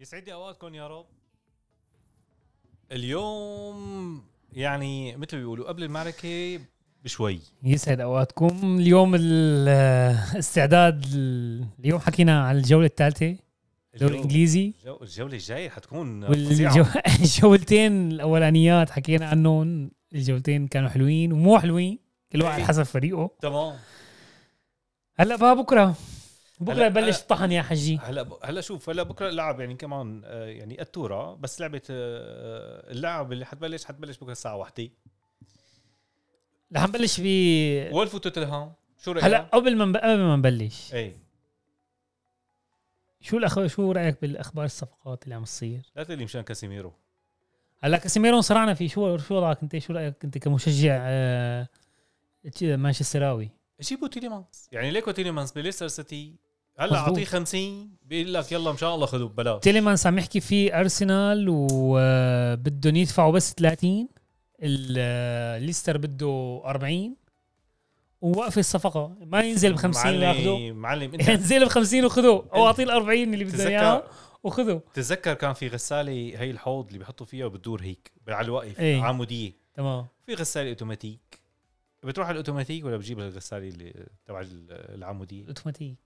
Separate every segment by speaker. Speaker 1: يسعد لي اوقاتكم يا رب اليوم يعني مثل ما بيقولوا قبل المعركه بشوي
Speaker 2: يسعد اوقاتكم اليوم الاستعداد اليوم حكينا عن الجوله الثالثه الدوري
Speaker 1: اليوم
Speaker 2: الانجليزي
Speaker 1: الجو- نعم. الجوله الجايه حتكون فظيعة.
Speaker 2: والجولتين الاولانيات حكينا عنهم الجولتين كانوا حلوين ومو حلوين كل واحد
Speaker 1: إيه.
Speaker 2: حسب فريقه
Speaker 1: تمام
Speaker 2: هلا بقى بكره
Speaker 1: هلا-
Speaker 2: بكره بلش الطحن يا حجي
Speaker 1: هلا ب... هلا شوف هلا بكره اللعب يعني كمان آه، يعني التوره بس لعبه آه، اللعب اللي حتبلش حتبلش بكره الساعه 1
Speaker 2: رح نبلش ب
Speaker 1: وولف وتوتنهام شو إيه، رايك؟
Speaker 2: هلا قبل ما قبل ما نبلش
Speaker 1: اي
Speaker 2: شو الأخ... شو رايك بالاخبار الصفقات اللي عم تصير
Speaker 1: لا تقلي مشان كاسيميرو
Speaker 2: هلا كاسيميرو صرعنا فيه شو شو وضعك انت شو رايك انت كمشجع آه... مانشستراوي
Speaker 1: جيبوا تيليمانس يعني ليكو تيليمانس بليستر سيتي هلا
Speaker 2: مظبوط.
Speaker 1: اعطيه 50 بيقول لك يلا ان شاء الله خذوه ببلاش
Speaker 2: تيليمانس عم يحكي فيه ارسنال وبدهم يدفعوا بس 30 ال- ليستر بده 40 ووقف الصفقه ما ينزل ب 50 وياخذوه
Speaker 1: معلم معلم انت
Speaker 2: ينزل ب 50 وخذوه او اعطيه ال 40 اللي بده اياه
Speaker 1: تتذكر
Speaker 2: وخذوه
Speaker 1: تتذكر كان في غساله هي الحوض اللي بيحطوا فيها وبتدور هيك على الوقف
Speaker 2: إيه.
Speaker 1: عموديه
Speaker 2: تمام
Speaker 1: في غساله اوتوماتيك بتروح على الاوتوماتيك ولا بتجيب الغساله اللي تبع ال- العموديه
Speaker 2: اوتوماتيك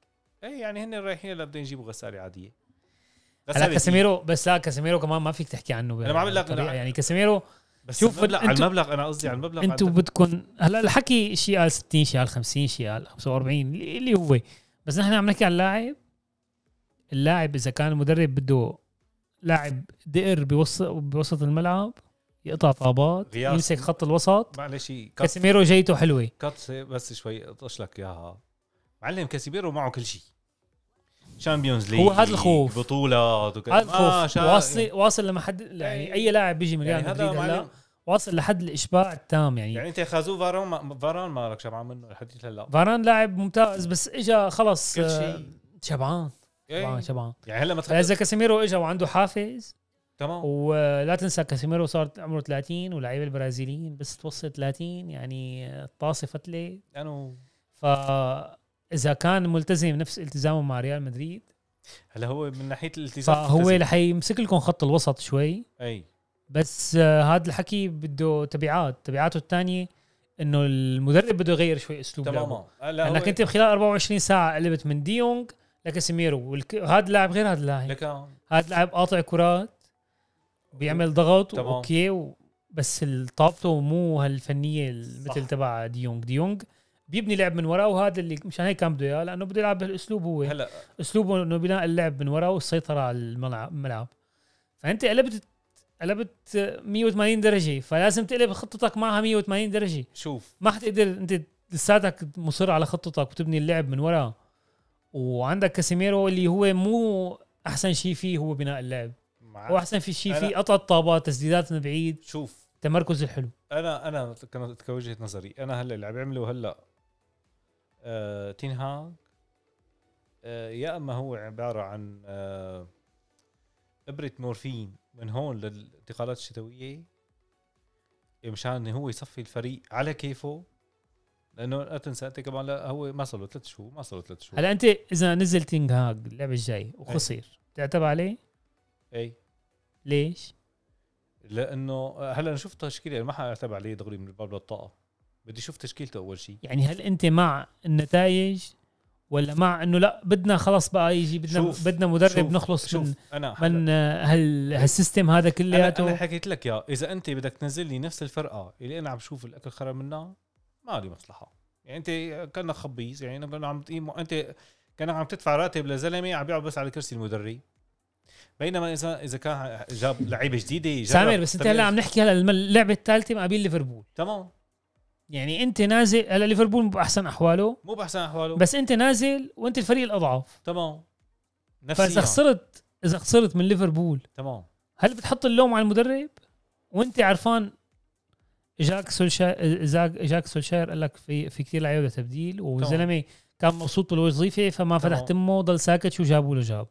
Speaker 1: اي يعني هن رايحين هلا بدهم يجيبوا غساله عاديه
Speaker 2: هلا
Speaker 1: غسالة فيه.
Speaker 2: كاسيميرو بس لا كاسيميرو كمان ما فيك تحكي عنه
Speaker 1: أنا ما عم بقول لك
Speaker 2: بطريقة
Speaker 1: أنا-
Speaker 2: يعني كاسيميرو
Speaker 1: بس
Speaker 2: شوف
Speaker 1: شوف المبلغ على
Speaker 2: أنتو-
Speaker 1: المبلغ انا قصدي على المبلغ
Speaker 2: انتم
Speaker 1: عندك.
Speaker 2: بدكم هلا الحكي شيء قال 60 شيء قال 50 شيء قال 45 اللي اللي هو بس نحن عم نحكي عن اللاعب اللاعب اذا كان المدرب بده لاعب دقر بوسط بوسط الملعب يقطع طابات
Speaker 1: غياث.
Speaker 2: يمسك خط الوسط
Speaker 1: معلش كات
Speaker 2: كاسيميرو جيته حلوه
Speaker 1: كات بس شوي اطش لك اياها معلم كاسيميرو معه كل شيء شامبيونز ليج
Speaker 2: هو هذا الخوف.
Speaker 1: بطولات وكذا.
Speaker 2: هذا
Speaker 1: ما
Speaker 2: الخوف
Speaker 1: شا-
Speaker 2: واصل واصل لحد يعني اي لاعب بيجي من ريال
Speaker 1: آه، يعني هذا
Speaker 2: مدريد هلا
Speaker 1: معلم
Speaker 2: واصل لحد الاشباع التام يعني
Speaker 1: يعني انت خازوه فاران ما فاران ما لك شبعان منه لحد هلا
Speaker 2: فاران لاعب ممتاز بس اجى خلص
Speaker 1: كل
Speaker 2: آه،
Speaker 1: شيء
Speaker 2: شبعان
Speaker 1: إيه.
Speaker 2: شبعان شبعان
Speaker 1: يعني هلا ما تخيل
Speaker 2: فاذا كاسيميرو اجى وعنده حافز
Speaker 1: تمام
Speaker 2: ولا تنسى كاسيميرو صار عمره 30 واللعيبه البرازيليين بس توصل 30 يعني الطاسه فتله
Speaker 1: انا
Speaker 2: فاذا كان ملتزم نفس التزامه مع ريال مدريد
Speaker 1: هلا هو من ناحيه الالتزام إيه،
Speaker 2: فهو
Speaker 1: ملتزم.
Speaker 2: رح يمسك لكم خط الوسط شوي
Speaker 1: اي
Speaker 2: بس آه، هذا الحكي بده تبعات تبعاته الثانيه انه المدرب بده يغير شوي اسلوب لعبه
Speaker 1: تماما هلا
Speaker 2: لانك انت بخلال 24 ساعه قلبت من ديونج لكاسيميرو والك- هذا اللاعب غير هذا اللاعب
Speaker 1: لك آه،
Speaker 2: هذا لاعب قاطع كرات بيعمل ضغط
Speaker 1: تمام.
Speaker 2: اوكي و... بس طاقته مو هالفنيه ال-
Speaker 1: صح.
Speaker 2: مثل تبع ديونج ديونج بيبني لعب من وراه وهذا اللي مشان هيك كان بده اياه لانه بده يلعب بهالاسلوب هو هل...
Speaker 1: هلا
Speaker 2: اسلوبه انه بناء اللعب من وراه والسيطره على الملعب, الملعب. فانت قلبت قلبت 180 درجه فلازم تقلب خطتك معها 180 درجه
Speaker 1: شوف
Speaker 2: ما حتقدر انت لساتك مصر على خطتك وتبني اللعب من ورا وعندك كاسيميرو اللي هو مو احسن شيء فيه هو بناء اللعب
Speaker 1: مع
Speaker 2: هو احسن في شيء
Speaker 1: أنا-
Speaker 2: فيه قطع الطابات تسديدات من بعيد
Speaker 1: شوف
Speaker 2: تمركز الحلو
Speaker 1: انا انا كانت كوجهه نظري انا هلا اللي عم يعمله هلا آه تينهاج آه يا اما هو عباره عن آه ابره مورفين من هون للانتقالات الشتويه مشان هو يصفي الفريق على كيفه لانه لا تنسى انت كمان لا هو ما صار له ثلاث شهور ما صار له ثلاث شهور
Speaker 2: هلا انت اذا نزل تينغهاج اللعبه الجاي وخسر تعتب عليه
Speaker 1: اي
Speaker 2: ليش
Speaker 1: لانه هلا آه، أنا شفت تشكيله ما حاعتب عليه دغري من الباب للطاقه بدي اشوف تشكيلته اول شيء
Speaker 2: يعني هل انت مع النتائج ولا مع انه لا بدنا خلص بقى يجي بدنا
Speaker 1: شوف،
Speaker 2: بدنا مدرب
Speaker 1: شوف-
Speaker 2: نخلص من
Speaker 1: شوف انا هلأ-
Speaker 2: من آه، هال هالسيستم هذا
Speaker 1: انا
Speaker 2: كلياته
Speaker 1: انا حكيت لك يا اذا انت بدك تنزل لي نفس الفرقه اللي انا عم شوف الاكل خرب منها ما لي مصلحه يعني انت كانك خبيز يعني انا كنا عم تقيم انت كانك عم تدفع راتب لزلمه عم بيقعد بس على كرسي المدرب بينما اذا اذا كان جاب لعيبه جديده جرب.
Speaker 2: سامر بس انت
Speaker 1: طب
Speaker 2: هلا عم نحكي هلا الم- اللعبه الثالثه مقابل ليفربول
Speaker 1: تمام
Speaker 2: يعني انت نازل هلا ليفربول باحسن احواله
Speaker 1: مو باحسن احواله
Speaker 2: بس انت نازل وانت الفريق الاضعف
Speaker 1: تمام
Speaker 2: فاذا
Speaker 1: نفسيا
Speaker 2: خسرت اذا خسرت من ليفربول
Speaker 1: تمام
Speaker 2: هل بتحط اللوم على المدرب وانت عرفان جاك سولشاير جاك, جاك سولشاير قال لك في في كثير لعيبه تبديل والزلمه كان مبسوط بالوظيفه
Speaker 1: تمام.
Speaker 2: فما فتح تمه ضل ساكت شو جابوا له جاب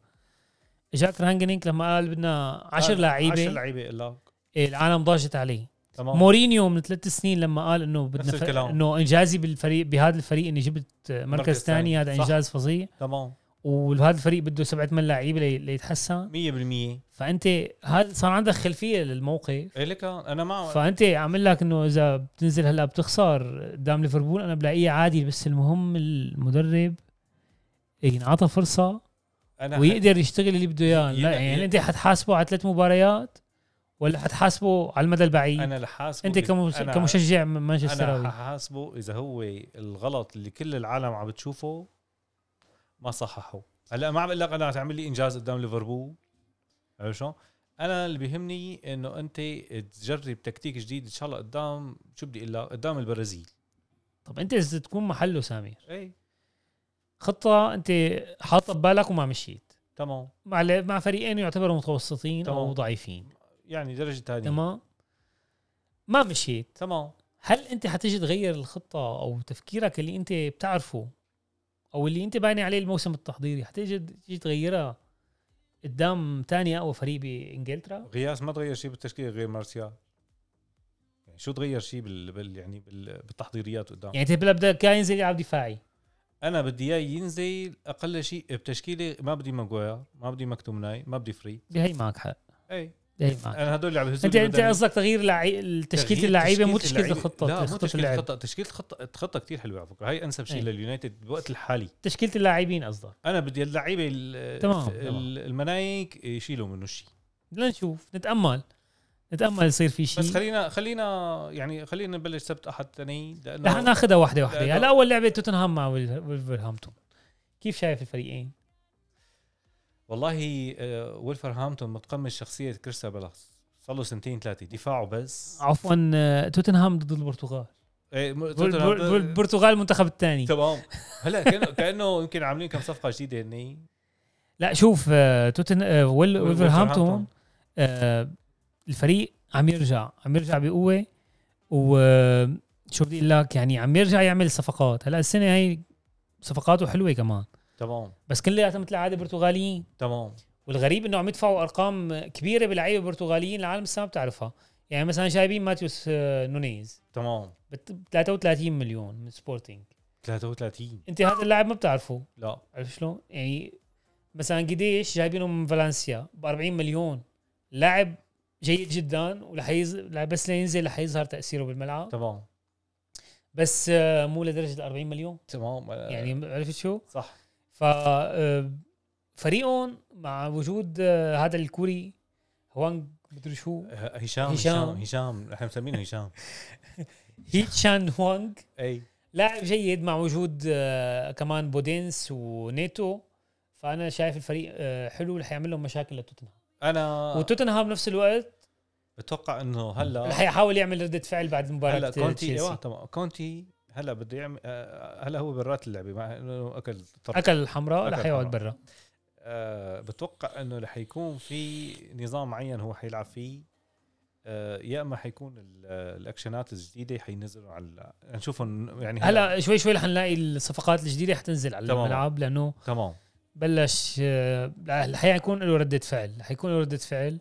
Speaker 2: جاك رانجنينك لما قال بدنا 10
Speaker 1: 10
Speaker 2: لعيبه
Speaker 1: لعيبه الا
Speaker 2: إيه، العالم ضاجت عليه
Speaker 1: تمام
Speaker 2: مورينيو من ثلاث سنين لما قال انه بدنا
Speaker 1: نفس
Speaker 2: فرق
Speaker 1: الكلام.
Speaker 2: انه انجازي بالفريق بهذا الفريق اني جبت مركز
Speaker 1: ثاني.
Speaker 2: ثاني هذا
Speaker 1: صح.
Speaker 2: انجاز فظيع
Speaker 1: تمام
Speaker 2: وهذا الفريق بده سبعة ثمان لعيبه لي- ليتحسن
Speaker 1: 100%
Speaker 2: فانت هذا صار عندك خلفيه للموقف
Speaker 1: إيه لك انا مع
Speaker 2: فانت عامل لك انه اذا بتنزل هلا بتخسر قدام ليفربول انا بلاقيه عادي بس المهم المدرب ينعطى فرصه
Speaker 1: انا
Speaker 2: ويقدر يشتغل اللي بده اياه لا
Speaker 1: ين- ين-
Speaker 2: يعني انت حتحاسبه على ثلاث مباريات ولا حتحاسبه على المدى البعيد
Speaker 1: انا لحاسبه
Speaker 2: انت
Speaker 1: إذا-
Speaker 2: كمش...
Speaker 1: أنا-
Speaker 2: كمشجع مانشستراوي
Speaker 1: انا حاسبه اذا هو الغلط اللي كل العالم عم بتشوفه ما صححه هلا ما عم بقول لك انا تعمل لي انجاز قدام ليفربول عرفت شلون؟ انا اللي بيهمني انه انت تجرب تكتيك جديد ان شاء الله قدام شو بدي اقول لك قدام البرازيل إيه،
Speaker 2: طب انت اذا تكون محله سامير
Speaker 1: اي
Speaker 2: خطه انت حاطه ببالك وما مشيت
Speaker 1: تمام
Speaker 2: مع مع فريقين يعتبروا متوسطين او
Speaker 1: تمام.
Speaker 2: ضعيفين
Speaker 1: يعني درجه ثانيه
Speaker 2: تمام ما مشيت
Speaker 1: تمام
Speaker 2: هل انت حتيجي تغير الخطه او تفكيرك اللي انت بتعرفه او اللي انت باينه عليه الموسم التحضيري حتيجي تيجي تغيرها قدام تاني اقوى فريق بانجلترا
Speaker 1: غياس ما تغير شيء بالتشكيل غير مارسيال يعني شو تغير شيء بال... بال... يعني بال... بالتحضيريات قدام
Speaker 2: يعني انت بلا بدك كان ينزل يلعب دفاعي
Speaker 1: انا بدي اياه ينزل اقل شيء بتشكيله ما بدي ماجواير ما بدي مكتومناي ما بدي فري
Speaker 2: بهي معك حق
Speaker 1: اي
Speaker 2: بهي معك
Speaker 1: انا هدول اللي عم يهزوا
Speaker 2: انت انت إيه. قصدك تغيير لعي... تشكيله اللعيبه مو تشكيله الخطه
Speaker 1: لا مو
Speaker 2: خطة
Speaker 1: تشكيله
Speaker 2: اللعب.
Speaker 1: الخطه تشكيله الخطه الخطه كثير حلوه على فكره هاي انسب شيء
Speaker 2: إيه.
Speaker 1: لليونايتد بالوقت الحالي
Speaker 2: تشكيله اللاعبين قصدك
Speaker 1: انا بدي اللعيبه ال-
Speaker 2: تمام،
Speaker 1: ال-
Speaker 2: تمام.
Speaker 1: المنايك يشيلوا منه شيء
Speaker 2: لنشوف نتامل نتامل يصير في شيء
Speaker 1: بس خلينا خلينا يعني خلينا نبلش سبت احد ثاني
Speaker 2: رح
Speaker 1: لانه
Speaker 2: ناخذها واحده واحده
Speaker 1: لا،
Speaker 2: هلا اول لعبه توتنهام مع ول- ولفرهامبتون كيف شايف الفريقين؟
Speaker 1: والله آه، ولفرهامبتون متقمص شخصيه كريستابالاس صار له سنتين ثلاثه دفاعه بس
Speaker 2: عفوا آه، توتنهام ضد البرتغال
Speaker 1: إيه، م-
Speaker 2: بول- بول- بول- البرتغال المنتخب الثاني
Speaker 1: تمام هلا كأنه- كانه يمكن عاملين كم صفقه جديده هني
Speaker 2: لا شوف آه، توتن آه، ويل- ولفرهامبتون آه، الفريق عم يرجع عم يرجع بقوه وشو بدي اقول لك يعني عم يرجع يعمل صفقات هلا السنه هاي صفقاته حلوه كمان
Speaker 1: تمام
Speaker 2: بس كلياتها مثل العاده برتغاليين
Speaker 1: تمام
Speaker 2: والغريب انه عم يدفعوا ارقام كبيره بلعيبه برتغاليين العالم لسه ما بتعرفها يعني مثلا جايبين ماتيوس آه، نونيز
Speaker 1: تمام
Speaker 2: ب 33 مليون من سبورتينج
Speaker 1: 33
Speaker 2: انت هذا اللاعب ما بتعرفه
Speaker 1: لا
Speaker 2: عرفت شلون؟ يعني مثلا قديش جايبينه من فالنسيا ب 40 مليون لاعب جيد جدا ورح يز... لا- بس لينزل رح يظهر تاثيره بالملعب
Speaker 1: تمام
Speaker 2: بس آه، مو لدرجه ال 40 مليون
Speaker 1: تمام آه،
Speaker 2: يعني عرفت شو؟
Speaker 1: صح
Speaker 2: ف آه، فريقهم مع وجود آه، هذا الكوري هوانغ مدري شو
Speaker 1: ه- هشام
Speaker 2: هشام.
Speaker 1: هشام هشام نحن مسمينه هشام
Speaker 2: هيت شان هوانغ
Speaker 1: اي
Speaker 2: لاعب جيد مع وجود آه، كمان بودينس ونيتو فانا شايف الفريق آه، حلو رح يعمل لهم مشاكل لتوتنهام
Speaker 1: انا
Speaker 2: وتوتنهام بنفس الوقت
Speaker 1: بتوقع انه هلا
Speaker 2: رح يحاول يعمل ردة فعل بعد مباراة
Speaker 1: آه. هلا كونتي ايوه
Speaker 2: تشيلسي
Speaker 1: تمام كونتي هلا بده يعمل آه، هلا هو برات اللعبه مع انه اكل طرد
Speaker 2: اكل الحمراء
Speaker 1: أكل
Speaker 2: رح يقعد
Speaker 1: الحمراء.
Speaker 2: برا
Speaker 1: آه بتوقع انه رح يكون في نظام معين هو حيلعب فيه آه يا اما حيكون ال- آه، الاكشنات الجديده حينزلوا على ال- نشوفهم يعني
Speaker 2: هلا شوي شوي رح نلاقي الصفقات الجديدة رح تنزل على
Speaker 1: تمام.
Speaker 2: الملعب لانه
Speaker 1: تمام
Speaker 2: بلش آه، رح يكون له ردة فعل رح يكون له ردة فعل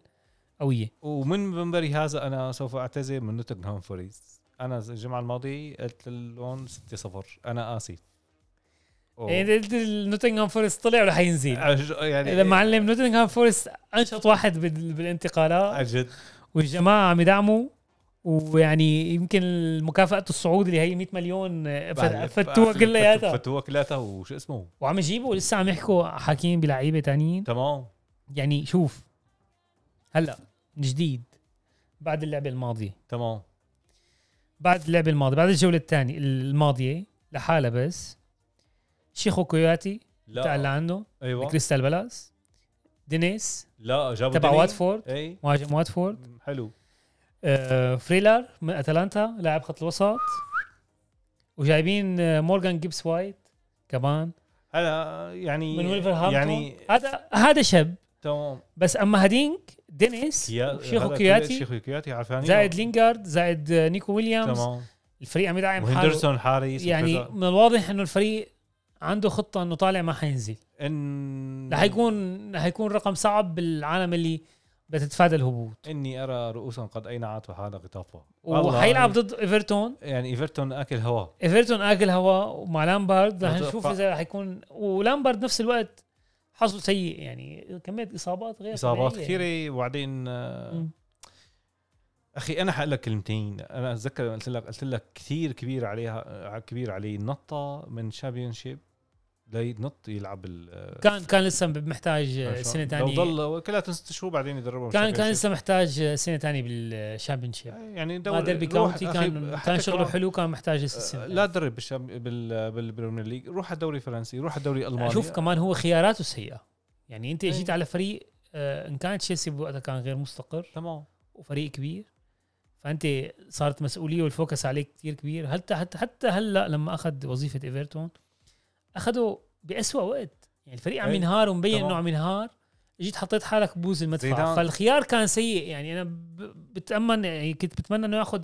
Speaker 2: قوية
Speaker 1: ومن منبري هذا انا سوف اعتذر من نوتنغهام فوريست انا الجمعه الماضيه قلت لهم 6 0 انا اسف أوه.
Speaker 2: يعني نوتنغهام فورست طلع ورح ينزل
Speaker 1: أج- يعني
Speaker 2: لما علم نوتنغهام فورست انشط واحد بال- بالانتقالات
Speaker 1: عن جد
Speaker 2: والجماعه عم يدعموا ويعني يمكن مكافاه الصعود اللي هي 100 مليون فت- فتوها كلياتها
Speaker 1: فتوها كلياتها وشو اسمه
Speaker 2: وعم يجيبوا لسه عم يحكوا حاكيين بلعيبه تانيين
Speaker 1: تمام
Speaker 2: يعني شوف هلا من جديد بعد اللعبه الماضيه
Speaker 1: تمام
Speaker 2: بعد اللعبه الماضيه بعد الجوله الثانيه الماضيه لحالها بس شيخو كوياتي بتاع اللي
Speaker 1: لا
Speaker 2: عنده
Speaker 1: ايوه
Speaker 2: كريستال بالاس دينيس
Speaker 1: لا جابوا
Speaker 2: تبع
Speaker 1: ديني.
Speaker 2: واتفورد
Speaker 1: اي
Speaker 2: مهاجم واتفورد
Speaker 1: حلو
Speaker 2: آه، فريلر من اتلانتا لاعب خط الوسط وجايبين آه، مورغان جيبس وايت كمان
Speaker 1: هلا يعني
Speaker 2: من ولفرهامبتون يعني
Speaker 1: يعني
Speaker 2: هذا هذا شب
Speaker 1: تمام
Speaker 2: بس اما هدينك دينيس
Speaker 1: يا-
Speaker 2: وشيخو
Speaker 1: هذا
Speaker 2: كياتي
Speaker 1: شيخو كياتي عرفاني
Speaker 2: زائد لينجارد زائد آه، نيكو ويليامز
Speaker 1: تمام
Speaker 2: الفريق عم يدعم حاله
Speaker 1: وهندرسون حارس
Speaker 2: يعني
Speaker 1: وكذا.
Speaker 2: من الواضح انه الفريق عنده خطه انه طالع ما حينزل
Speaker 1: ان
Speaker 2: رح يكون رح يكون رقم صعب بالعالم اللي بتتفادى الهبوط
Speaker 1: اني ارى رؤوسا قد اينعت وحان غطافها والله
Speaker 2: وحيلعب ضد ايفرتون
Speaker 1: يعني ايفرتون اكل هواء
Speaker 2: ايفرتون اكل هواء ومع لامبارد رح
Speaker 1: أتوقع.
Speaker 2: نشوف اذا رح يكون ولامبارد نفس الوقت حظه سيء يعني كميه اصابات غير
Speaker 1: اصابات
Speaker 2: طبيعية.
Speaker 1: كثيره وبعدين آه،
Speaker 2: مم.
Speaker 1: اخي انا حقول لك كلمتين انا اتذكر قلت لك قلت لك كثير كبير عليها آه، كبير عليه نطه من شامبيونشيب لينط يلعب ال آه،
Speaker 2: كان كان لسه محتاج سنه
Speaker 1: لو
Speaker 2: ثانيه
Speaker 1: ضل كلها ست شهور بعدين يدربهم
Speaker 2: كان كان
Speaker 1: بالشامبيونشيب.
Speaker 2: لسه محتاج سنه ثانيه بالشامبيونشيب
Speaker 1: يعني
Speaker 2: ما ديربي
Speaker 1: روح
Speaker 2: كاونتي
Speaker 1: أخي،
Speaker 2: كان
Speaker 1: حتى
Speaker 2: كان شغله
Speaker 1: كمان-
Speaker 2: حلو كان محتاج لسه
Speaker 1: آه،
Speaker 2: سنه
Speaker 1: لا تدرب بالشام بال بالبريمير ليج روح على الدوري الفرنسي روح على الدوري الالماني
Speaker 2: شوف كمان هو خياراته سيئه يعني انت
Speaker 1: أي.
Speaker 2: اجيت على فريق آه، ان كان تشيلسي بوقتها كان غير مستقر
Speaker 1: تمام
Speaker 2: وفريق كبير فانت صارت مسؤوليه والفوكس عليك كثير كبير حتى حتى حتى هلا لما اخذ وظيفه ايفرتون اخذه بأسوأ وقت يعني الفريق عم
Speaker 1: أي.
Speaker 2: ينهار ومبين
Speaker 1: تمام.
Speaker 2: انه عم ينهار اجيت حطيت حالك ببوز المدفع
Speaker 1: زيدان.
Speaker 2: فالخيار كان سيء يعني انا ب- بتامن يعني كنت بتمنى انه ياخذ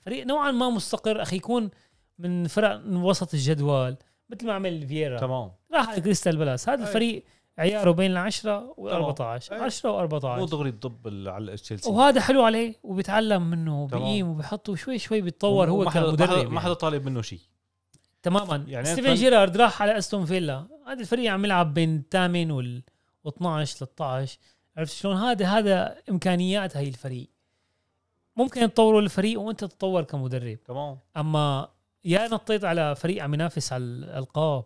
Speaker 2: فريق نوعا ما مستقر اخي يكون من فرق من وسط الجدول مثل ما عمل فييرا
Speaker 1: تمام
Speaker 2: راح على كريستال بالاس هذا
Speaker 1: أي.
Speaker 2: الفريق عياره بين العشرة و14
Speaker 1: أي.
Speaker 2: 10
Speaker 1: مو
Speaker 2: و14
Speaker 1: دغري تضب ال- على تشيلسي
Speaker 2: وهذا حلو عليه وبيتعلم منه
Speaker 1: تمام.
Speaker 2: وبيقيم وبيحط وشوي شوي بيتطور هو
Speaker 1: وما حدا- ما حدا-
Speaker 2: كمدرب
Speaker 1: ما
Speaker 2: يعني.
Speaker 1: حدا طالب منه شيء
Speaker 2: تماما
Speaker 1: يعني
Speaker 2: يعني
Speaker 1: أنا
Speaker 2: ستيفن
Speaker 1: أتمنى-
Speaker 2: جيرارد راح على استون فيلا هذا الفريق عم يلعب بين الثامن وال 12 13 عرفت شلون هذا هذا امكانيات هاي الفريق ممكن تطوروا الفريق وانت تتطور كمدرب
Speaker 1: تمام
Speaker 2: اما يا نطيت على فريق عم ينافس على الالقاب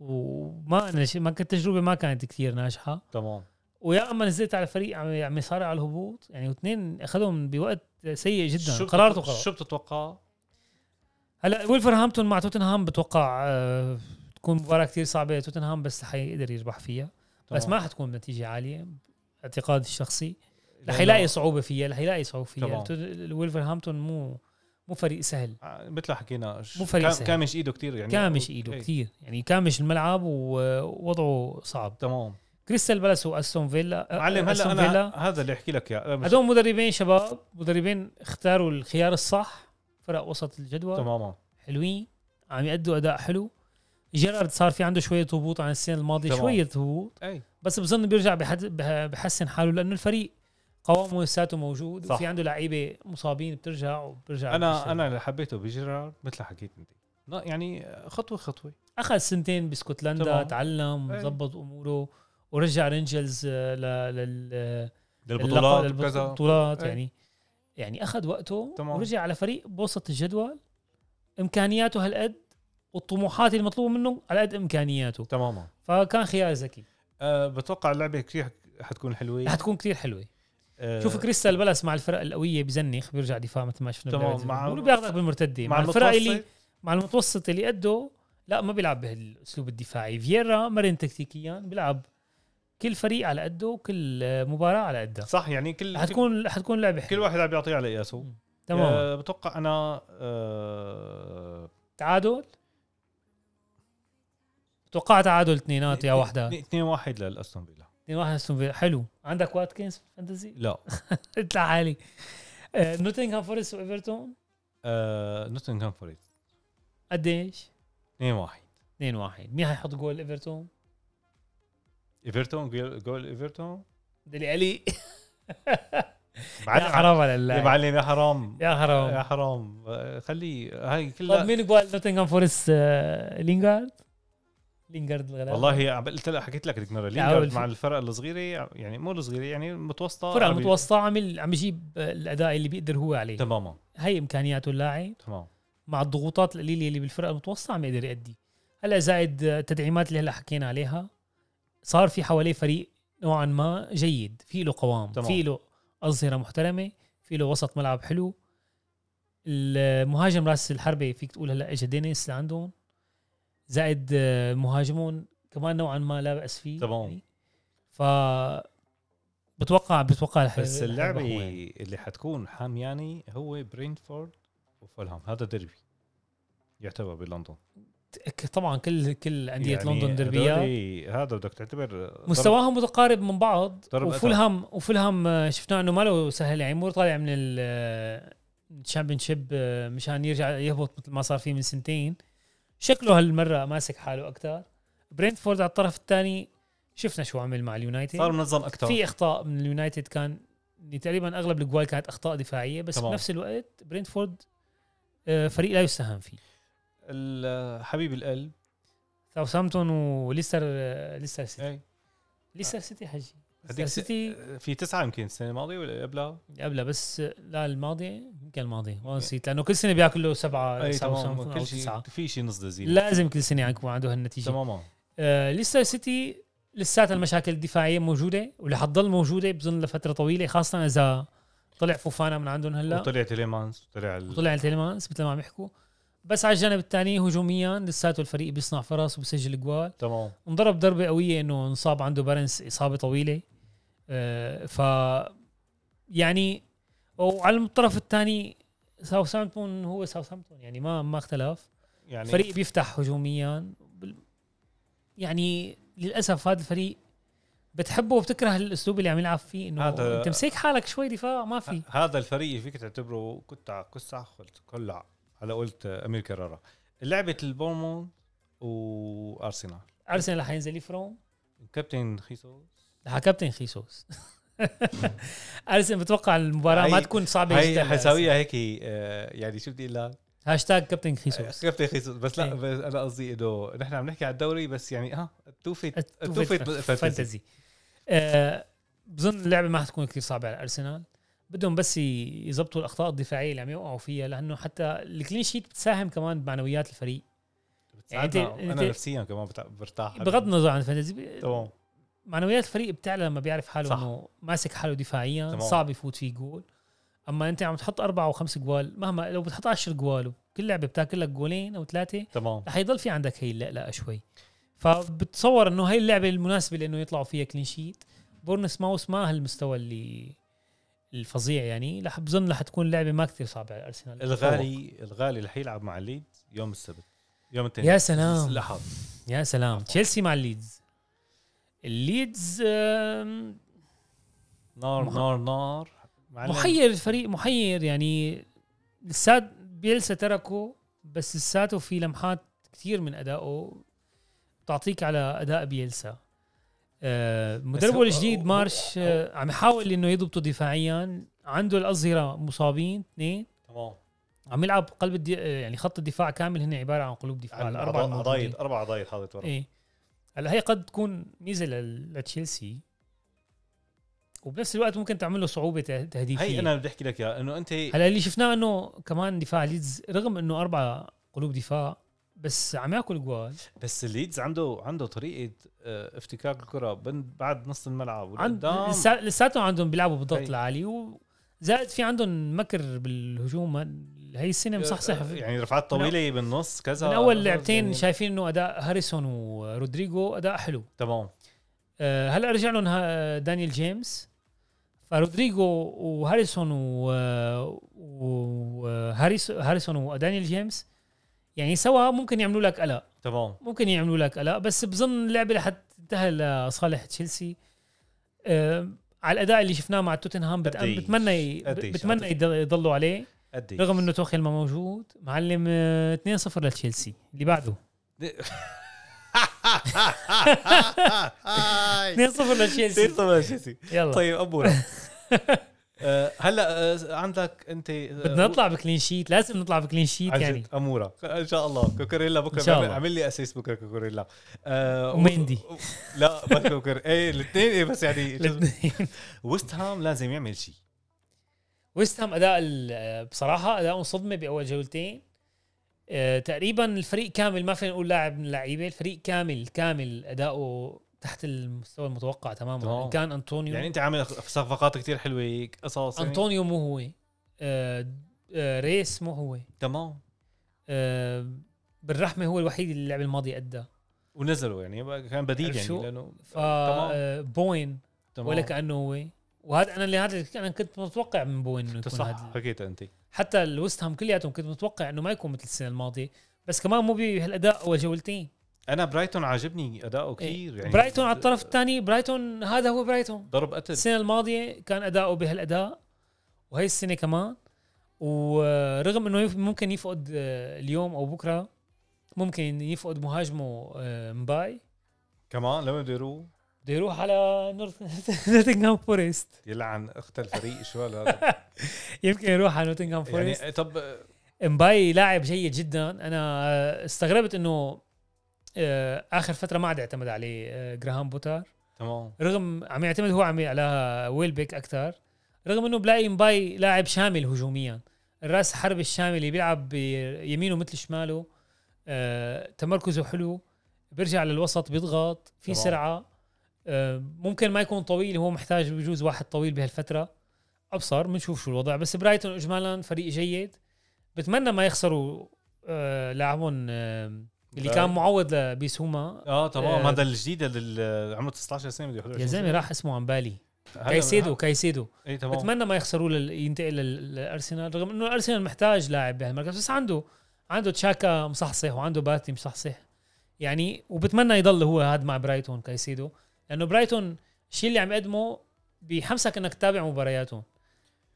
Speaker 2: وما نش... ما كانت تجربه ما كانت كثير ناجحه
Speaker 1: تمام
Speaker 2: ويا اما نزلت على فريق عم عم يصارع على الهبوط يعني واثنين اخذهم بوقت سيء جدا
Speaker 1: شو بت-
Speaker 2: قرارته قرار
Speaker 1: شو بتتوقع؟
Speaker 2: هلا ولفرهامبتون مع توتنهام بتوقع آه، تكون مباراه كثير صعبه توتنهام بس حيقدر يربح فيها بس ما حتكون بنتيجه عاليه اعتقادي الشخصي رح يلاقي صعوبه فيها رح يلاقي صعوبه
Speaker 1: تمام.
Speaker 2: فيها توت- ولفرهامبتون مو مو فريق سهل
Speaker 1: آه، مثل ما حكينا ش-
Speaker 2: مو فريق
Speaker 1: كام-
Speaker 2: سهل.
Speaker 1: كامش ايده كثير يعني
Speaker 2: كامش ايده
Speaker 1: إيه،
Speaker 2: كثير يعني كامش الملعب ووضعه صعب
Speaker 1: تمام
Speaker 2: كريستال بالاس واستون فيلا آه،
Speaker 1: معلم هلا
Speaker 2: أستون
Speaker 1: انا هذا اللي احكي لك اياه أنا مش-
Speaker 2: هدول مدربين شباب مدربين اختاروا الخيار الصح فرق وسط الجدول
Speaker 1: تماما
Speaker 2: حلوين عم يأدوا اداء حلو جيرارد صار في عنده شويه هبوط عن السنه الماضيه
Speaker 1: تمام.
Speaker 2: شويه هبوط
Speaker 1: اي
Speaker 2: بس بظن بيرجع بحد- بح- بحسن حاله لانه الفريق قوامه لساته موجود
Speaker 1: صح.
Speaker 2: وفي عنده لعيبه مصابين بترجع وبترجع
Speaker 1: انا
Speaker 2: بتشتغل.
Speaker 1: انا اللي حبيته بجيرارد مثل ما حكيت انت لا، يعني خطوه خطوه
Speaker 2: اخذ سنتين باسكتلندا
Speaker 1: تمام.
Speaker 2: تعلم
Speaker 1: إيه.
Speaker 2: ظبط اموره ورجع رينجلز آه، ل- لل
Speaker 1: للبطولات
Speaker 2: للق-
Speaker 1: وكذا
Speaker 2: للبطولات
Speaker 1: إيه.
Speaker 2: يعني يعني اخذ وقته
Speaker 1: تمام.
Speaker 2: ورجع على فريق بوسط الجدول امكانياته هالقد والطموحات المطلوبه منه على قد امكانياته
Speaker 1: تماما
Speaker 2: فكان خيار ذكي
Speaker 1: أه بتوقع اللعبه كثير حتكون حلوه
Speaker 2: رح تكون كتير حلوه
Speaker 1: أه
Speaker 2: شوف كريستال بالاس مع الفرق القويه بزنخ بيرجع دفاع مثل ما شفنا
Speaker 1: تمام،
Speaker 2: بلعبة
Speaker 1: مع-
Speaker 2: ليفربول وبياخذك بالمرتده مع, مع الفرق
Speaker 1: المتوسط،
Speaker 2: اللي مع المتوسط اللي قده لا ما بيلعب بهالاسلوب الدفاعي فييرا مرن تكتيكيا بيلعب كل فريق على قده وكل آه، مباراه على قدها
Speaker 1: صح يعني كل
Speaker 2: حتكون حتكون لعبه
Speaker 1: كل
Speaker 2: حلوه
Speaker 1: واحد عم يعطيه على قياسه
Speaker 2: تمام
Speaker 1: أه بتوقع انا أه
Speaker 2: تعادل توقع تعادل اثنينات يا وحده
Speaker 1: 2 1 للاستون فيلا
Speaker 2: اثنين واحد أستون فيلا. حلو عندك واتكنز فانتزي
Speaker 1: لا
Speaker 2: اطلع عالي آه، نوتنغهام فورست وايفرتون
Speaker 1: أه نوتنغهام فورست
Speaker 2: قديش؟
Speaker 1: 2 1
Speaker 2: 2 1 مين حيحط جول ايفرتون؟
Speaker 1: ايفرتون جول جول ايفرتون
Speaker 2: ديلي علي يا
Speaker 1: معلم
Speaker 2: حرام على
Speaker 1: يا
Speaker 2: الله
Speaker 1: معلم يا حرام
Speaker 2: يا
Speaker 1: يا
Speaker 2: حرام
Speaker 1: حرام أه، خليه هاي
Speaker 2: طب
Speaker 1: كلها
Speaker 2: مين جوال نوتنغهام فورست آه، لينغارد؟ لينغارد الغلابة
Speaker 1: والله عم قلت لك حكيت لك دكتور
Speaker 2: أول
Speaker 1: لينجارد
Speaker 2: ف-
Speaker 1: مع الفرق الصغيره يعني مو الصغيره يعني المتوسطه
Speaker 2: فرقة
Speaker 1: عم بي-
Speaker 2: المتوسطة عم عم يجيب آه، الأداء اللي بيقدر هو عليه
Speaker 1: تماما
Speaker 2: هي إمكانياته اللاعب
Speaker 1: تمام
Speaker 2: مع الضغوطات القليلة اللي بالفرقة المتوسطة عم يقدر يأدي هلا زائد آه، التدعيمات اللي هلا حكينا عليها صار في حواليه فريق نوعا ما جيد في له قوام
Speaker 1: تمام.
Speaker 2: في له أظهرة محترمة في له وسط ملعب حلو المهاجم راس الحربة فيك تقول هلا اجى دينيس لعندهم زائد آه، مهاجمون كمان نوعا ما لا بأس فيه يعني
Speaker 1: تمام.
Speaker 2: ف بتوقع بتوقع الح-
Speaker 1: بس اللعبه
Speaker 2: الحربة هو يعني.
Speaker 1: اللي حتكون حامياني هو برينفورد وفولهام هذا ديربي يعتبر بلندن
Speaker 2: ك- طبعا كل كل انديه
Speaker 1: يعني
Speaker 2: يعني لندن دربيات
Speaker 1: هدول- هذا بدك تعتبر
Speaker 2: مستواهم متقارب من بعض
Speaker 1: ضرب أثر.
Speaker 2: وفولهام وفولهام آه، شفناه انه ما له سهل يعني مو طالع من ال الشامبيونشيب آه، مشان يرجع يهبط مثل ما صار فيه من سنتين شكله هالمره ماسك حاله اكثر برينتفورد على الطرف الثاني شفنا شو عمل مع اليونايتد
Speaker 1: صار منظم اكثر
Speaker 2: في اخطاء من اليونايتد كان تقريبا اغلب الجوال كانت اخطاء دفاعيه بس
Speaker 1: تمام.
Speaker 2: بنفس الوقت برينتفورد آه، فريق لا يستهان فيه
Speaker 1: ال- حبيب القلب
Speaker 2: ساوثهامبتون وليستر آه، ليستر سيتي
Speaker 1: اي
Speaker 2: ليستر سيتي حجي ليستر
Speaker 1: هديك
Speaker 2: سيتي
Speaker 1: إيه. في تسعه يمكن السنه الماضيه ولا قبلها
Speaker 2: قبلها بس لا الماضيه يمكن الماضيه والله نسيت لانه كل سنه بياكل له سبعه
Speaker 1: اي
Speaker 2: سبعه
Speaker 1: إيه. تمام
Speaker 2: سبعة او
Speaker 1: كل شيء
Speaker 2: تسعه
Speaker 1: في شيء نص لذيذ
Speaker 2: لازم كل سنه يكون عنده هالنتيجه
Speaker 1: تماما
Speaker 2: آه، ليستر سيتي لساتها المشاكل الدفاعيه موجوده ولحتضل موجوده بظن لفتره طويله خاصه اذا طلع فوفانا من عندهم هلا
Speaker 1: وطلع تيليمانز وطلع ال...
Speaker 2: وطلع التلمانس مثل ما عم يحكوا بس على الجانب الثاني هجوميا لساته الفريق بيصنع فرص وبسجل جوال
Speaker 1: تمام
Speaker 2: انضرب ضربه قويه انه انصاب عنده بارنس اصابه طويله آه، ف يعني وعلى الطرف الثاني ساوثهامبتون هو ساوثهامبتون يعني ما ما اختلف
Speaker 1: يعني
Speaker 2: يعني فريق بيفتح هجوميا بال- يعني للاسف هذا الفريق بتحبه وبتكره الاسلوب اللي عم يلعب فيه انه
Speaker 1: هذا-
Speaker 2: انت مسك حالك شوي دفاع ما في
Speaker 1: ه- هذا الفريق فيك تعتبره كتع كسع خلت كلع على قولت امير كرارة لعبه البورموند وارسنال
Speaker 2: ارسنال رح ينزل يفرم
Speaker 1: كابتن خيسوس
Speaker 2: رح كابتن خيسوس ارسنال بتوقع المباراه ما
Speaker 1: هاي-
Speaker 2: تكون صعبه جدا
Speaker 1: هي
Speaker 2: لأرسنال.
Speaker 1: حساويها هيك آه، يعني شو بدي اقول لك
Speaker 2: هاشتاج كابتن خيسوس
Speaker 1: كابتن خيسوس بس
Speaker 2: إيه.
Speaker 1: لا بس انا قصدي انه نحن عم نحكي على الدوري بس يعني ها توفت توفت
Speaker 2: توفيت فانتزي آه، بظن اللعبه ما حتكون كثير صعبه على ارسنال بدهم بس ي- يزبطوا الاخطاء الدفاعيه اللي عم يوقعوا فيها لانه حتى الكلين شيت بتساهم كمان بمعنويات الفريق يعني أنت-
Speaker 1: يعني انا
Speaker 2: أنت-
Speaker 1: نفسيا كمان بتع- برتاح
Speaker 2: بغض النظر عن الفانتزي
Speaker 1: تمام
Speaker 2: معنويات الفريق بتعلى لما بيعرف حاله
Speaker 1: صح.
Speaker 2: انه ماسك حاله دفاعيا
Speaker 1: تمام.
Speaker 2: صعب يفوت فيه جول اما انت عم تحط اربعة وخمس جوال مهما لو بتحط 10 جوال وكل لعبه بتاكل لك جولين او ثلاثه
Speaker 1: تمام
Speaker 2: رح يضل في عندك هي اللقلقه شوي فبتصور انه هي اللعبه المناسبه لانه يطلعوا فيها كلين شيت بورنس ماوس ما هالمستوى اللي الفظيع يعني رح بظن رح تكون لعبه ما كثير صعبه على ارسنال
Speaker 1: الغالي الغالي رح يلعب مع الليدز يوم السبت يوم التاني
Speaker 2: يا سلام.
Speaker 1: الاحد
Speaker 2: يا سلام تشيلسي مع الليدز الليدز آم،
Speaker 1: نار
Speaker 2: مح-
Speaker 1: نار نار معلم.
Speaker 2: محير الفريق محير يعني لسات بيلسا تركه بس لساته في لمحات كثير من ادائه بتعطيك على اداء بيلسا آه،
Speaker 1: هو-
Speaker 2: مدربه الجديد
Speaker 1: هو-
Speaker 2: مارش آه، عم يحاول انه يضبطه دفاعيا عنده الاظهره مصابين اثنين
Speaker 1: تمام
Speaker 2: عم يلعب قلب الدي... آه، يعني خط الدفاع كامل هن عباره عن قلوب دفاع
Speaker 1: عن
Speaker 2: الاربعه
Speaker 1: اربع
Speaker 2: الموجودين.
Speaker 1: عضايد اربع عضايد حاطط ورا
Speaker 2: ايه هلا هي قد تكون ميزه لل- لتشيلسي وبنفس الوقت ممكن تعمل له صعوبه ته- تهديفيه
Speaker 1: هي انا بدي احكي لك اياها انه انت
Speaker 2: هلا اللي شفناه انه كمان دفاع ليدز رغم انه اربعه قلوب دفاع بس عم ياكل جوال
Speaker 1: بس الليدز عنده عنده طريقه آه، افتكاك الكره بن- بعد نص الملعب
Speaker 2: عند
Speaker 1: ولقدام.
Speaker 2: لسا- لساتهم عندهم بيلعبوا بالضغط
Speaker 1: هي.
Speaker 2: العالي وزائد في عندهم مكر بالهجوم هاي السنه مصحصح
Speaker 1: آه، يعني رفعات طويله بالنص كذا
Speaker 2: من اول
Speaker 1: كذا،
Speaker 2: لعبتين
Speaker 1: يعني-
Speaker 2: شايفين انه اداء هاريسون ورودريجو اداء حلو
Speaker 1: تمام
Speaker 2: آه، هلا رجع لهم ها- دانيال جيمس فرودريجو وهاريسون وهاريسون ودانيال جيمس يعني سوا ممكن يعملوا لك قلق
Speaker 1: تمام
Speaker 2: ممكن يعملوا لك قلق بس بظن اللعبه رح تنتهي لصالح تشيلسي أم، على الاداء اللي شفناه مع توتنهام بت-
Speaker 1: قديش؟
Speaker 2: بتمنى
Speaker 1: قديش؟
Speaker 2: بتمنى
Speaker 1: قديش؟
Speaker 2: يضل- يضلوا عليه
Speaker 1: قد
Speaker 2: رغم انه توخيل ما موجود معلم أه، 2-0 لتشيلسي اللي بعده 2-0 لتشيلسي يلا
Speaker 1: طيب ابو آه، هلا آه، عندك انت
Speaker 2: بدنا نطلع بكلين شيت لازم نطلع بكلين شيت يعني
Speaker 1: يعني اموره ان شاء الله كوكوريلا بكره
Speaker 2: إن شاء الله.
Speaker 1: عمل لي اسيس بكره كوكوريلا آه
Speaker 2: ومندي.
Speaker 1: و- لا ما كوكور ايه الاثنين ايه بس يعني
Speaker 2: الاثنين
Speaker 1: ويست هام لازم يعمل شيء
Speaker 2: ويست هام اداء ال- آه، بصراحه اداءهم صدمه باول جولتين أه، تقريبا الفريق كامل ما فينا نقول لاعب من اللعيبه الفريق كامل كامل اداؤه تحت المستوى المتوقع تماما
Speaker 1: تمام.
Speaker 2: إن كان انطونيو
Speaker 1: يعني
Speaker 2: يعني
Speaker 1: انت عامل صفقات كتير حلوه قصص يعني.
Speaker 2: انطونيو مو هو أه، أه، ريس مو هو
Speaker 1: تمام
Speaker 2: أه، بالرحمه هو الوحيد اللي اللعب الماضي ادى
Speaker 1: ونزلوا يعني بقى كان بديل
Speaker 2: عرفت
Speaker 1: يعني
Speaker 2: شو؟
Speaker 1: لانه
Speaker 2: ف أه، بوين
Speaker 1: تمام
Speaker 2: ولا كانه هو وهذا انا اللي هذا انا كنت متوقع من بوين انه
Speaker 1: انت
Speaker 2: يكون
Speaker 1: صح
Speaker 2: هذا
Speaker 1: حكيت انت
Speaker 2: حتى الوست هام كلياتهم كنت متوقع انه ما يكون مثل السنه الماضيه بس كمان مو بهالاداء اول جولتين
Speaker 1: انا برايتون عاجبني اداؤه كثير يعني
Speaker 2: إيه. برايتون على الطرف الثاني برايتون هذا هو برايتون
Speaker 1: ضرب قتل
Speaker 2: السنه الماضيه كان اداؤه بهالاداء وهي السنه كمان ورغم انه يف- ممكن يفقد آه، اليوم او بكره ممكن يفقد مهاجمه آه، مباي
Speaker 1: كمان لما بده يروح
Speaker 2: بده يروح على نورث نوتنغهام فورست
Speaker 1: يلعن اخت الفريق شو هذا
Speaker 2: يمكن يروح على نوتنغهام فورست
Speaker 1: يعني طب
Speaker 2: امباي لاعب جيد جدا انا آه، استغربت انه آه، اخر فتره ما عاد اعتمد عليه آه، جراهام بوتار
Speaker 1: تمام
Speaker 2: رغم عم يعتمد هو عم على ويلبيك اكثر رغم انه بلاقي مباي لاعب شامل هجوميا الراس حرب الشامل اللي بيلعب بيمينه مثل شماله آه، تمركزه حلو بيرجع للوسط بيضغط في
Speaker 1: طبعاً.
Speaker 2: سرعه آه، ممكن ما يكون طويل هو محتاج بجوز واحد طويل بهالفتره ابصر بنشوف شو الوضع بس برايتون اجمالا فريق جيد بتمنى ما يخسروا آه، لاعبهم آه، اللي كان معوض لبيسوما
Speaker 1: اه تمام
Speaker 2: آه.
Speaker 1: هذا الجديد هذا اللي عمره 19 سنه بده 11
Speaker 2: يا زلمه راح اسمه عن بالي
Speaker 1: هلا-
Speaker 2: كايسيدو كايسيدو
Speaker 1: اي تمام
Speaker 2: بتمنى ما يخسروا لل... ينتقل لل- للارسنال رغم انه الارسنال محتاج لاعب بهالمركز بس عنده عنده تشاكا مصحصح وعنده باتي مصحصح يعني وبتمنى يضل هو هاد مع برايتون كايسيدو لانه برايتون الشيء اللي عم يقدمه بيحمسك انك تتابع مبارياتهم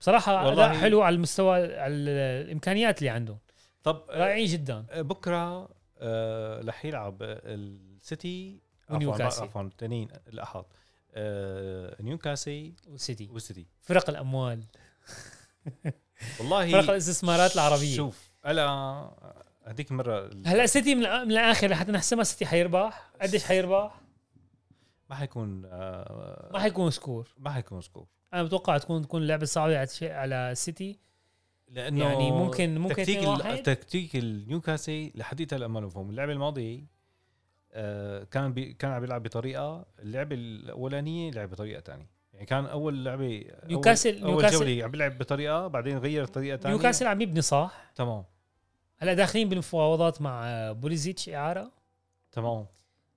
Speaker 2: بصراحه
Speaker 1: والله-
Speaker 2: اداء حلو على المستوى على الامكانيات اللي عندهم
Speaker 1: طب آه،
Speaker 2: رائعين جدا
Speaker 1: بكره آه رح يلعب السيتي عفوا
Speaker 2: ونيوكاسل.
Speaker 1: عفوا التانيين الاحد آه نيوكاسل
Speaker 2: والسيتي
Speaker 1: والسيتي
Speaker 2: فرق الاموال
Speaker 1: والله
Speaker 2: فرق الاستثمارات العربيه
Speaker 1: شوف انا هذيك المره ال-
Speaker 2: هلا السيتي من, الآ- من الاخر لحتى نحسمها السيتي حيربح قديش حيربح
Speaker 1: ما حيكون آه
Speaker 2: ما حيكون سكور
Speaker 1: ما حيكون سكور
Speaker 2: انا بتوقع تكون تكون لعبه صعبه على شيء على السيتي
Speaker 1: لانه
Speaker 2: يعني ممكن- ممكن
Speaker 1: تكتيك
Speaker 2: اثنين
Speaker 1: ال-
Speaker 2: واحد.
Speaker 1: تكتيك النيوكاسل لحد هلا ما مفهوم اللعبه الماضيه آه، كان بي كان عم يلعب بطريقه اللعبه الاولانيه لعب بطريقه ثانيه يعني كان اول لعبه أول-
Speaker 2: نيوكاسل-
Speaker 1: اول
Speaker 2: نيوكاسل-
Speaker 1: جوله عم يلعب بطريقه بعدين غير طريقه ثانيه
Speaker 2: نيوكاسل عم يبني صح
Speaker 1: تمام
Speaker 2: هلا داخلين بالمفاوضات مع آه، بوليزيتش اعاره
Speaker 1: تمام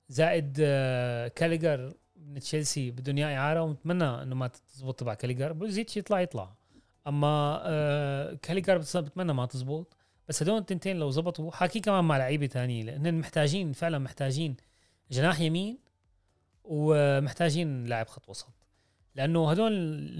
Speaker 2: زائد آه، كاليجر من تشيلسي بدهم اياه اعاره ونتمنى انه ما تزبط تبع كاليجر بوليزيتش يطلع يطلع اما آه، كاليجر بتص- بتمنى ما تزبط بس هدول التنتين لو زبطوا حاكي كمان مع لعيبه ثانيه لانهم محتاجين فعلا محتاجين جناح يمين ومحتاجين لاعب خط وسط لانه هدول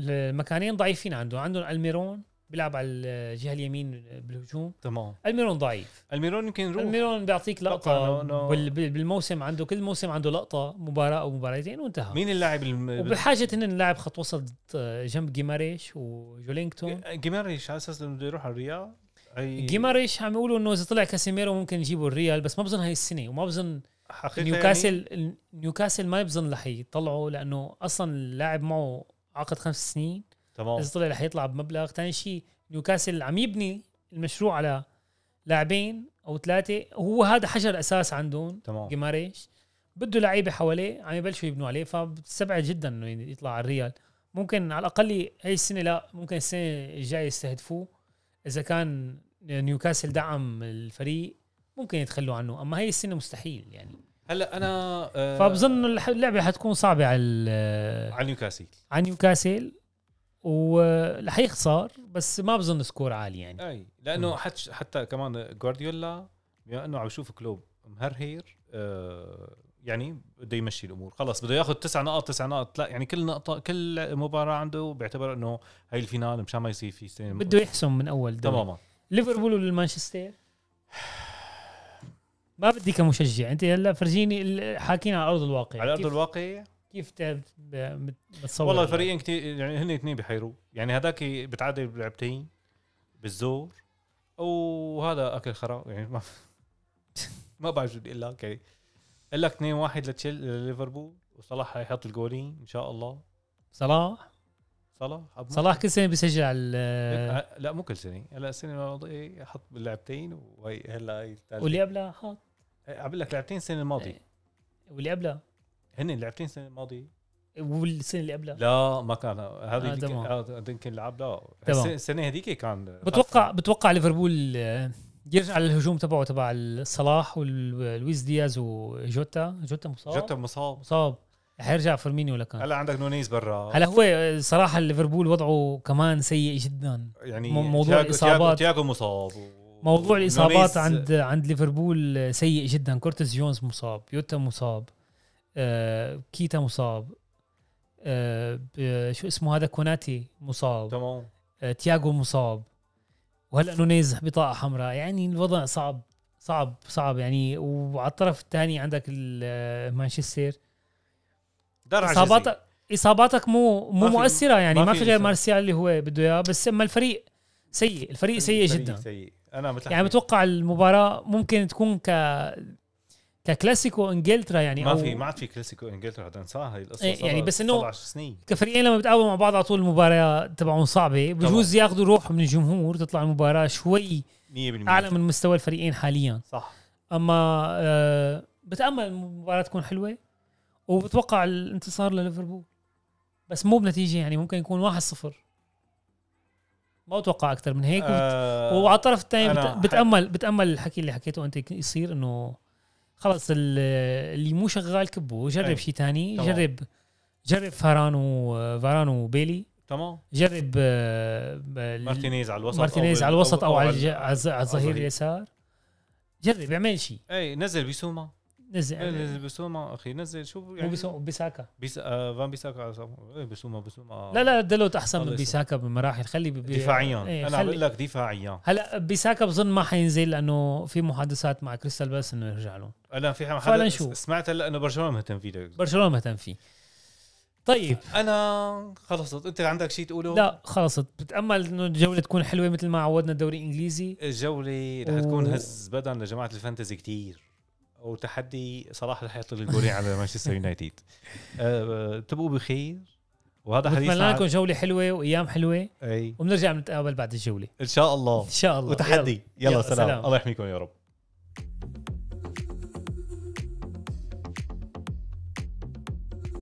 Speaker 2: المكانين ضعيفين عندهم عندهم الميرون بيلعب على الجهه اليمين بالهجوم
Speaker 1: تمام
Speaker 2: الميرون ضعيف
Speaker 1: الميرون يمكن يروح
Speaker 2: الميرون بيعطيك
Speaker 1: طبعاً،
Speaker 2: لقطه
Speaker 1: no, no.
Speaker 2: بال- بال- بالموسم عنده كل موسم عنده لقطه مباراه او مباراتين وانتهى
Speaker 1: مين اللاعب الم...
Speaker 2: وبحاجه ان نلعب خط وسط آه، جنب جيماريش وجولينغتون
Speaker 1: جيماريش على اساس انه بده يروح على الرياض هي
Speaker 2: جيماريش عم يقولوا انه اذا طلع كاسيميرو ممكن يجيبوا الريال بس ما بظن هاي السنه وما بظن
Speaker 1: حقيقة يعني
Speaker 2: نيوكاسل نيوكاسل ما بظن رح يطلعوا لانه اصلا اللاعب معه عقد خمس سنين
Speaker 1: تمام
Speaker 2: اذا طلع رح يطلع بمبلغ ثاني شيء نيوكاسل عم يبني المشروع على لاعبين او ثلاثه هو هذا حجر اساس عندهم
Speaker 1: تمام
Speaker 2: جماريش بده لعيبه حواليه عم يبلشوا يبنوا عليه فبتستبعد جدا انه يطلع على الريال ممكن على الاقل هاي السنه لا ممكن السنه الجايه يستهدفوه اذا كان نيوكاسل دعم الفريق ممكن يتخلوا عنه اما هاي السنه مستحيل يعني
Speaker 1: هلا انا آه،
Speaker 2: فبظن إنه الح- اللعبه حتكون صعبه على ال-
Speaker 1: على نيوكاسل
Speaker 2: على نيوكاسل ورح يخسر بس ما بظن سكور عالي يعني
Speaker 1: اي لانه حتى حتى كمان جوارديولا بما انه عم يشوف كلوب مهرهير آه يعني بده يمشي الامور خلص بده ياخذ تسع نقط تسع نقط لا يعني كل نقطه كل مباراه عنده بيعتبر انه هي الفينال مشان ما يصير في سنين
Speaker 2: بده يحسم من اول دوري
Speaker 1: تماما
Speaker 2: ليفربول ولا مانشستر؟ ما بدي كمشجع انت هلا فرجيني ال- حاكينا على ارض الواقع
Speaker 1: على ارض
Speaker 2: كيف-
Speaker 1: الواقع
Speaker 2: كيف ت- ب- بتصور
Speaker 1: والله الفريقين كتير يعني هن اثنين بحيروا يعني هذاك بتعادل بلعبتين بالزور وهذا اكل خرا يعني ما ما بعرف شو بدي اقول لك يعني قال لك 2 1 لتشيل لليفربول وصلاح حيحط الجولين ان شاء الله
Speaker 2: صلاح
Speaker 1: صلاح أبو
Speaker 2: صلاح آه. كل سنه بيسجل على ال-
Speaker 1: لا- لا مو كل سنه هلا السنه الماضيه حط باللعبتين وهي هلا هي الثالثة. إيه،
Speaker 2: واللي قبلها حط
Speaker 1: عم بقول لك لعبتين السنه الماضيه
Speaker 2: واللي قبلها
Speaker 1: هن اللعبتين السنه الماضيه
Speaker 2: والسنه اللي قبلها
Speaker 1: لا ما كان هذه
Speaker 2: آه،
Speaker 1: هذيك-
Speaker 2: تمام.
Speaker 1: آه، يمكن لعب لا
Speaker 2: تمام.
Speaker 1: السنة- السنه هذيك كان
Speaker 2: بتوقع بتوقع ليفربول آه، يرجع للهجوم تبعه تبع صلاح ولويس دياز وجوتا جوتا مصاب
Speaker 1: جوتا مصاب
Speaker 2: مصاب رح يرجع فيرمينيو لكان
Speaker 1: هلا عندك نونيز برا
Speaker 2: آه. هلا هو آه، صراحه ليفربول وضعه كمان سيء جدا
Speaker 1: يعني
Speaker 2: مو- موضوع
Speaker 1: تياغو-
Speaker 2: الإصابات.
Speaker 1: تياغو تياغو مصاب و-
Speaker 2: موضوع
Speaker 1: ونونيز-
Speaker 2: الاصابات عند عند ليفربول سيء جدا كورتس جونز مصاب يوتا مصاب آه كيتا مصاب آه ب- شو اسمه هذا كوناتي مصاب
Speaker 1: تمام
Speaker 2: آه تياغو مصاب وهلا نونيز بطاقه حمراء يعني الوضع صعب صعب صعب يعني وعلى الطرف الثاني عندك ال- آه، مانشستر
Speaker 1: درع
Speaker 2: اصاباتك اصاباتك مو
Speaker 1: ما
Speaker 2: مو
Speaker 1: في-
Speaker 2: مؤثره
Speaker 1: ما
Speaker 2: يعني ما
Speaker 1: في
Speaker 2: في غير
Speaker 1: إصابة.
Speaker 2: مارسيال اللي هو بده اياه بس اما الفريق سيء الفريق
Speaker 1: جزئي.
Speaker 2: سيء
Speaker 1: فريق
Speaker 2: جدا
Speaker 1: سيء انا مثل
Speaker 2: يعني
Speaker 1: حكيت.
Speaker 2: بتوقع المباراة ممكن تكون ك ككلاسيكو انجلترا يعني
Speaker 1: ما
Speaker 2: أو
Speaker 1: في ما عاد في كلاسيكو انجلترا هذا انساها هي القصه
Speaker 2: إيه، يعني
Speaker 1: صارت
Speaker 2: بس إنه-
Speaker 1: 17 سنين
Speaker 2: كفريقين لما بتقابلوا مع بعض على طول المباراه تبعهم صعبه بجوز ياخذوا روح من الجمهور تطلع المباراه شوي
Speaker 1: 100%
Speaker 2: اعلى من مستوى الفريقين حاليا
Speaker 1: صح
Speaker 2: اما آه بتامل المباراه تكون حلوه وبتوقع الانتصار لليفربول بس مو بنتيجه يعني ممكن يكون 1-0 ما اتوقع اكثر من هيك وبت...
Speaker 1: آه،
Speaker 2: وعلى الطرف الثاني
Speaker 1: أنا
Speaker 2: بت...
Speaker 1: ح-
Speaker 2: بتامل بتامل الحكي اللي حكيته انت يك- يصير انه خلص ال- اللي مو شغال كبه
Speaker 1: أي.
Speaker 2: جرب شيء ثاني
Speaker 1: أيوه. تمام.
Speaker 2: جرب جرب فاران وفاران وبيلي
Speaker 1: تمام
Speaker 2: جرب آه، ال-
Speaker 1: مارتينيز على الوسط أو
Speaker 2: مارتينيز
Speaker 1: بال-
Speaker 2: على الوسط او على الج- على الز- على
Speaker 1: الظهير.
Speaker 2: الظهير اليسار جرب اعمل شيء
Speaker 1: اي نزل بيسوما إيه،
Speaker 2: نزل
Speaker 1: نزل بيسوما اخي نزل شو
Speaker 2: يعني مو
Speaker 1: يعني
Speaker 2: بيسا- بيساكا
Speaker 1: بيس... آه، فان بيساكا على صف- إيه، بيسوما بيسوما
Speaker 2: لا لا دلوت احسن
Speaker 1: الله
Speaker 2: من
Speaker 1: يسلمك.
Speaker 2: بيساكا بمراحل خلي بي...
Speaker 1: دفاعيا
Speaker 2: إيه،
Speaker 1: انا عم بقول
Speaker 2: خلي...
Speaker 1: لك دفاعيا
Speaker 2: هلا بيساكا بظن ما حينزل لانه في محادثات مع كريستال بالاس انه يرجع لهم
Speaker 1: انا في حدا
Speaker 2: فعلاً شو.
Speaker 1: سمعت هلا انه برشلونه مهتم فيه
Speaker 2: برشلونه مهتم فيه طيب
Speaker 1: انا خلصت انت عندك شيء تقوله
Speaker 2: لا خلصت بتامل انه الجوله تكون حلوه مثل ما عودنا الدوري الانجليزي
Speaker 1: الجولة رح تكون
Speaker 2: و-
Speaker 1: هز بدن لجماعة الفانتزي كتير وتحدي صلاح رح يحط الجولين على مانشستر يونايتد أه تبقوا بخير وهذا
Speaker 2: بتمنى
Speaker 1: حديثنا
Speaker 2: لكم
Speaker 1: عن...
Speaker 2: جوله حلوه وايام حلوه
Speaker 1: اي
Speaker 2: وبنرجع بنتقابل بعد الجوله
Speaker 1: ان شاء الله
Speaker 2: ان شاء الله
Speaker 1: وتحدي يلا,
Speaker 2: يلا،
Speaker 1: سلام.
Speaker 2: سلام.
Speaker 1: الله يحميكم يا رب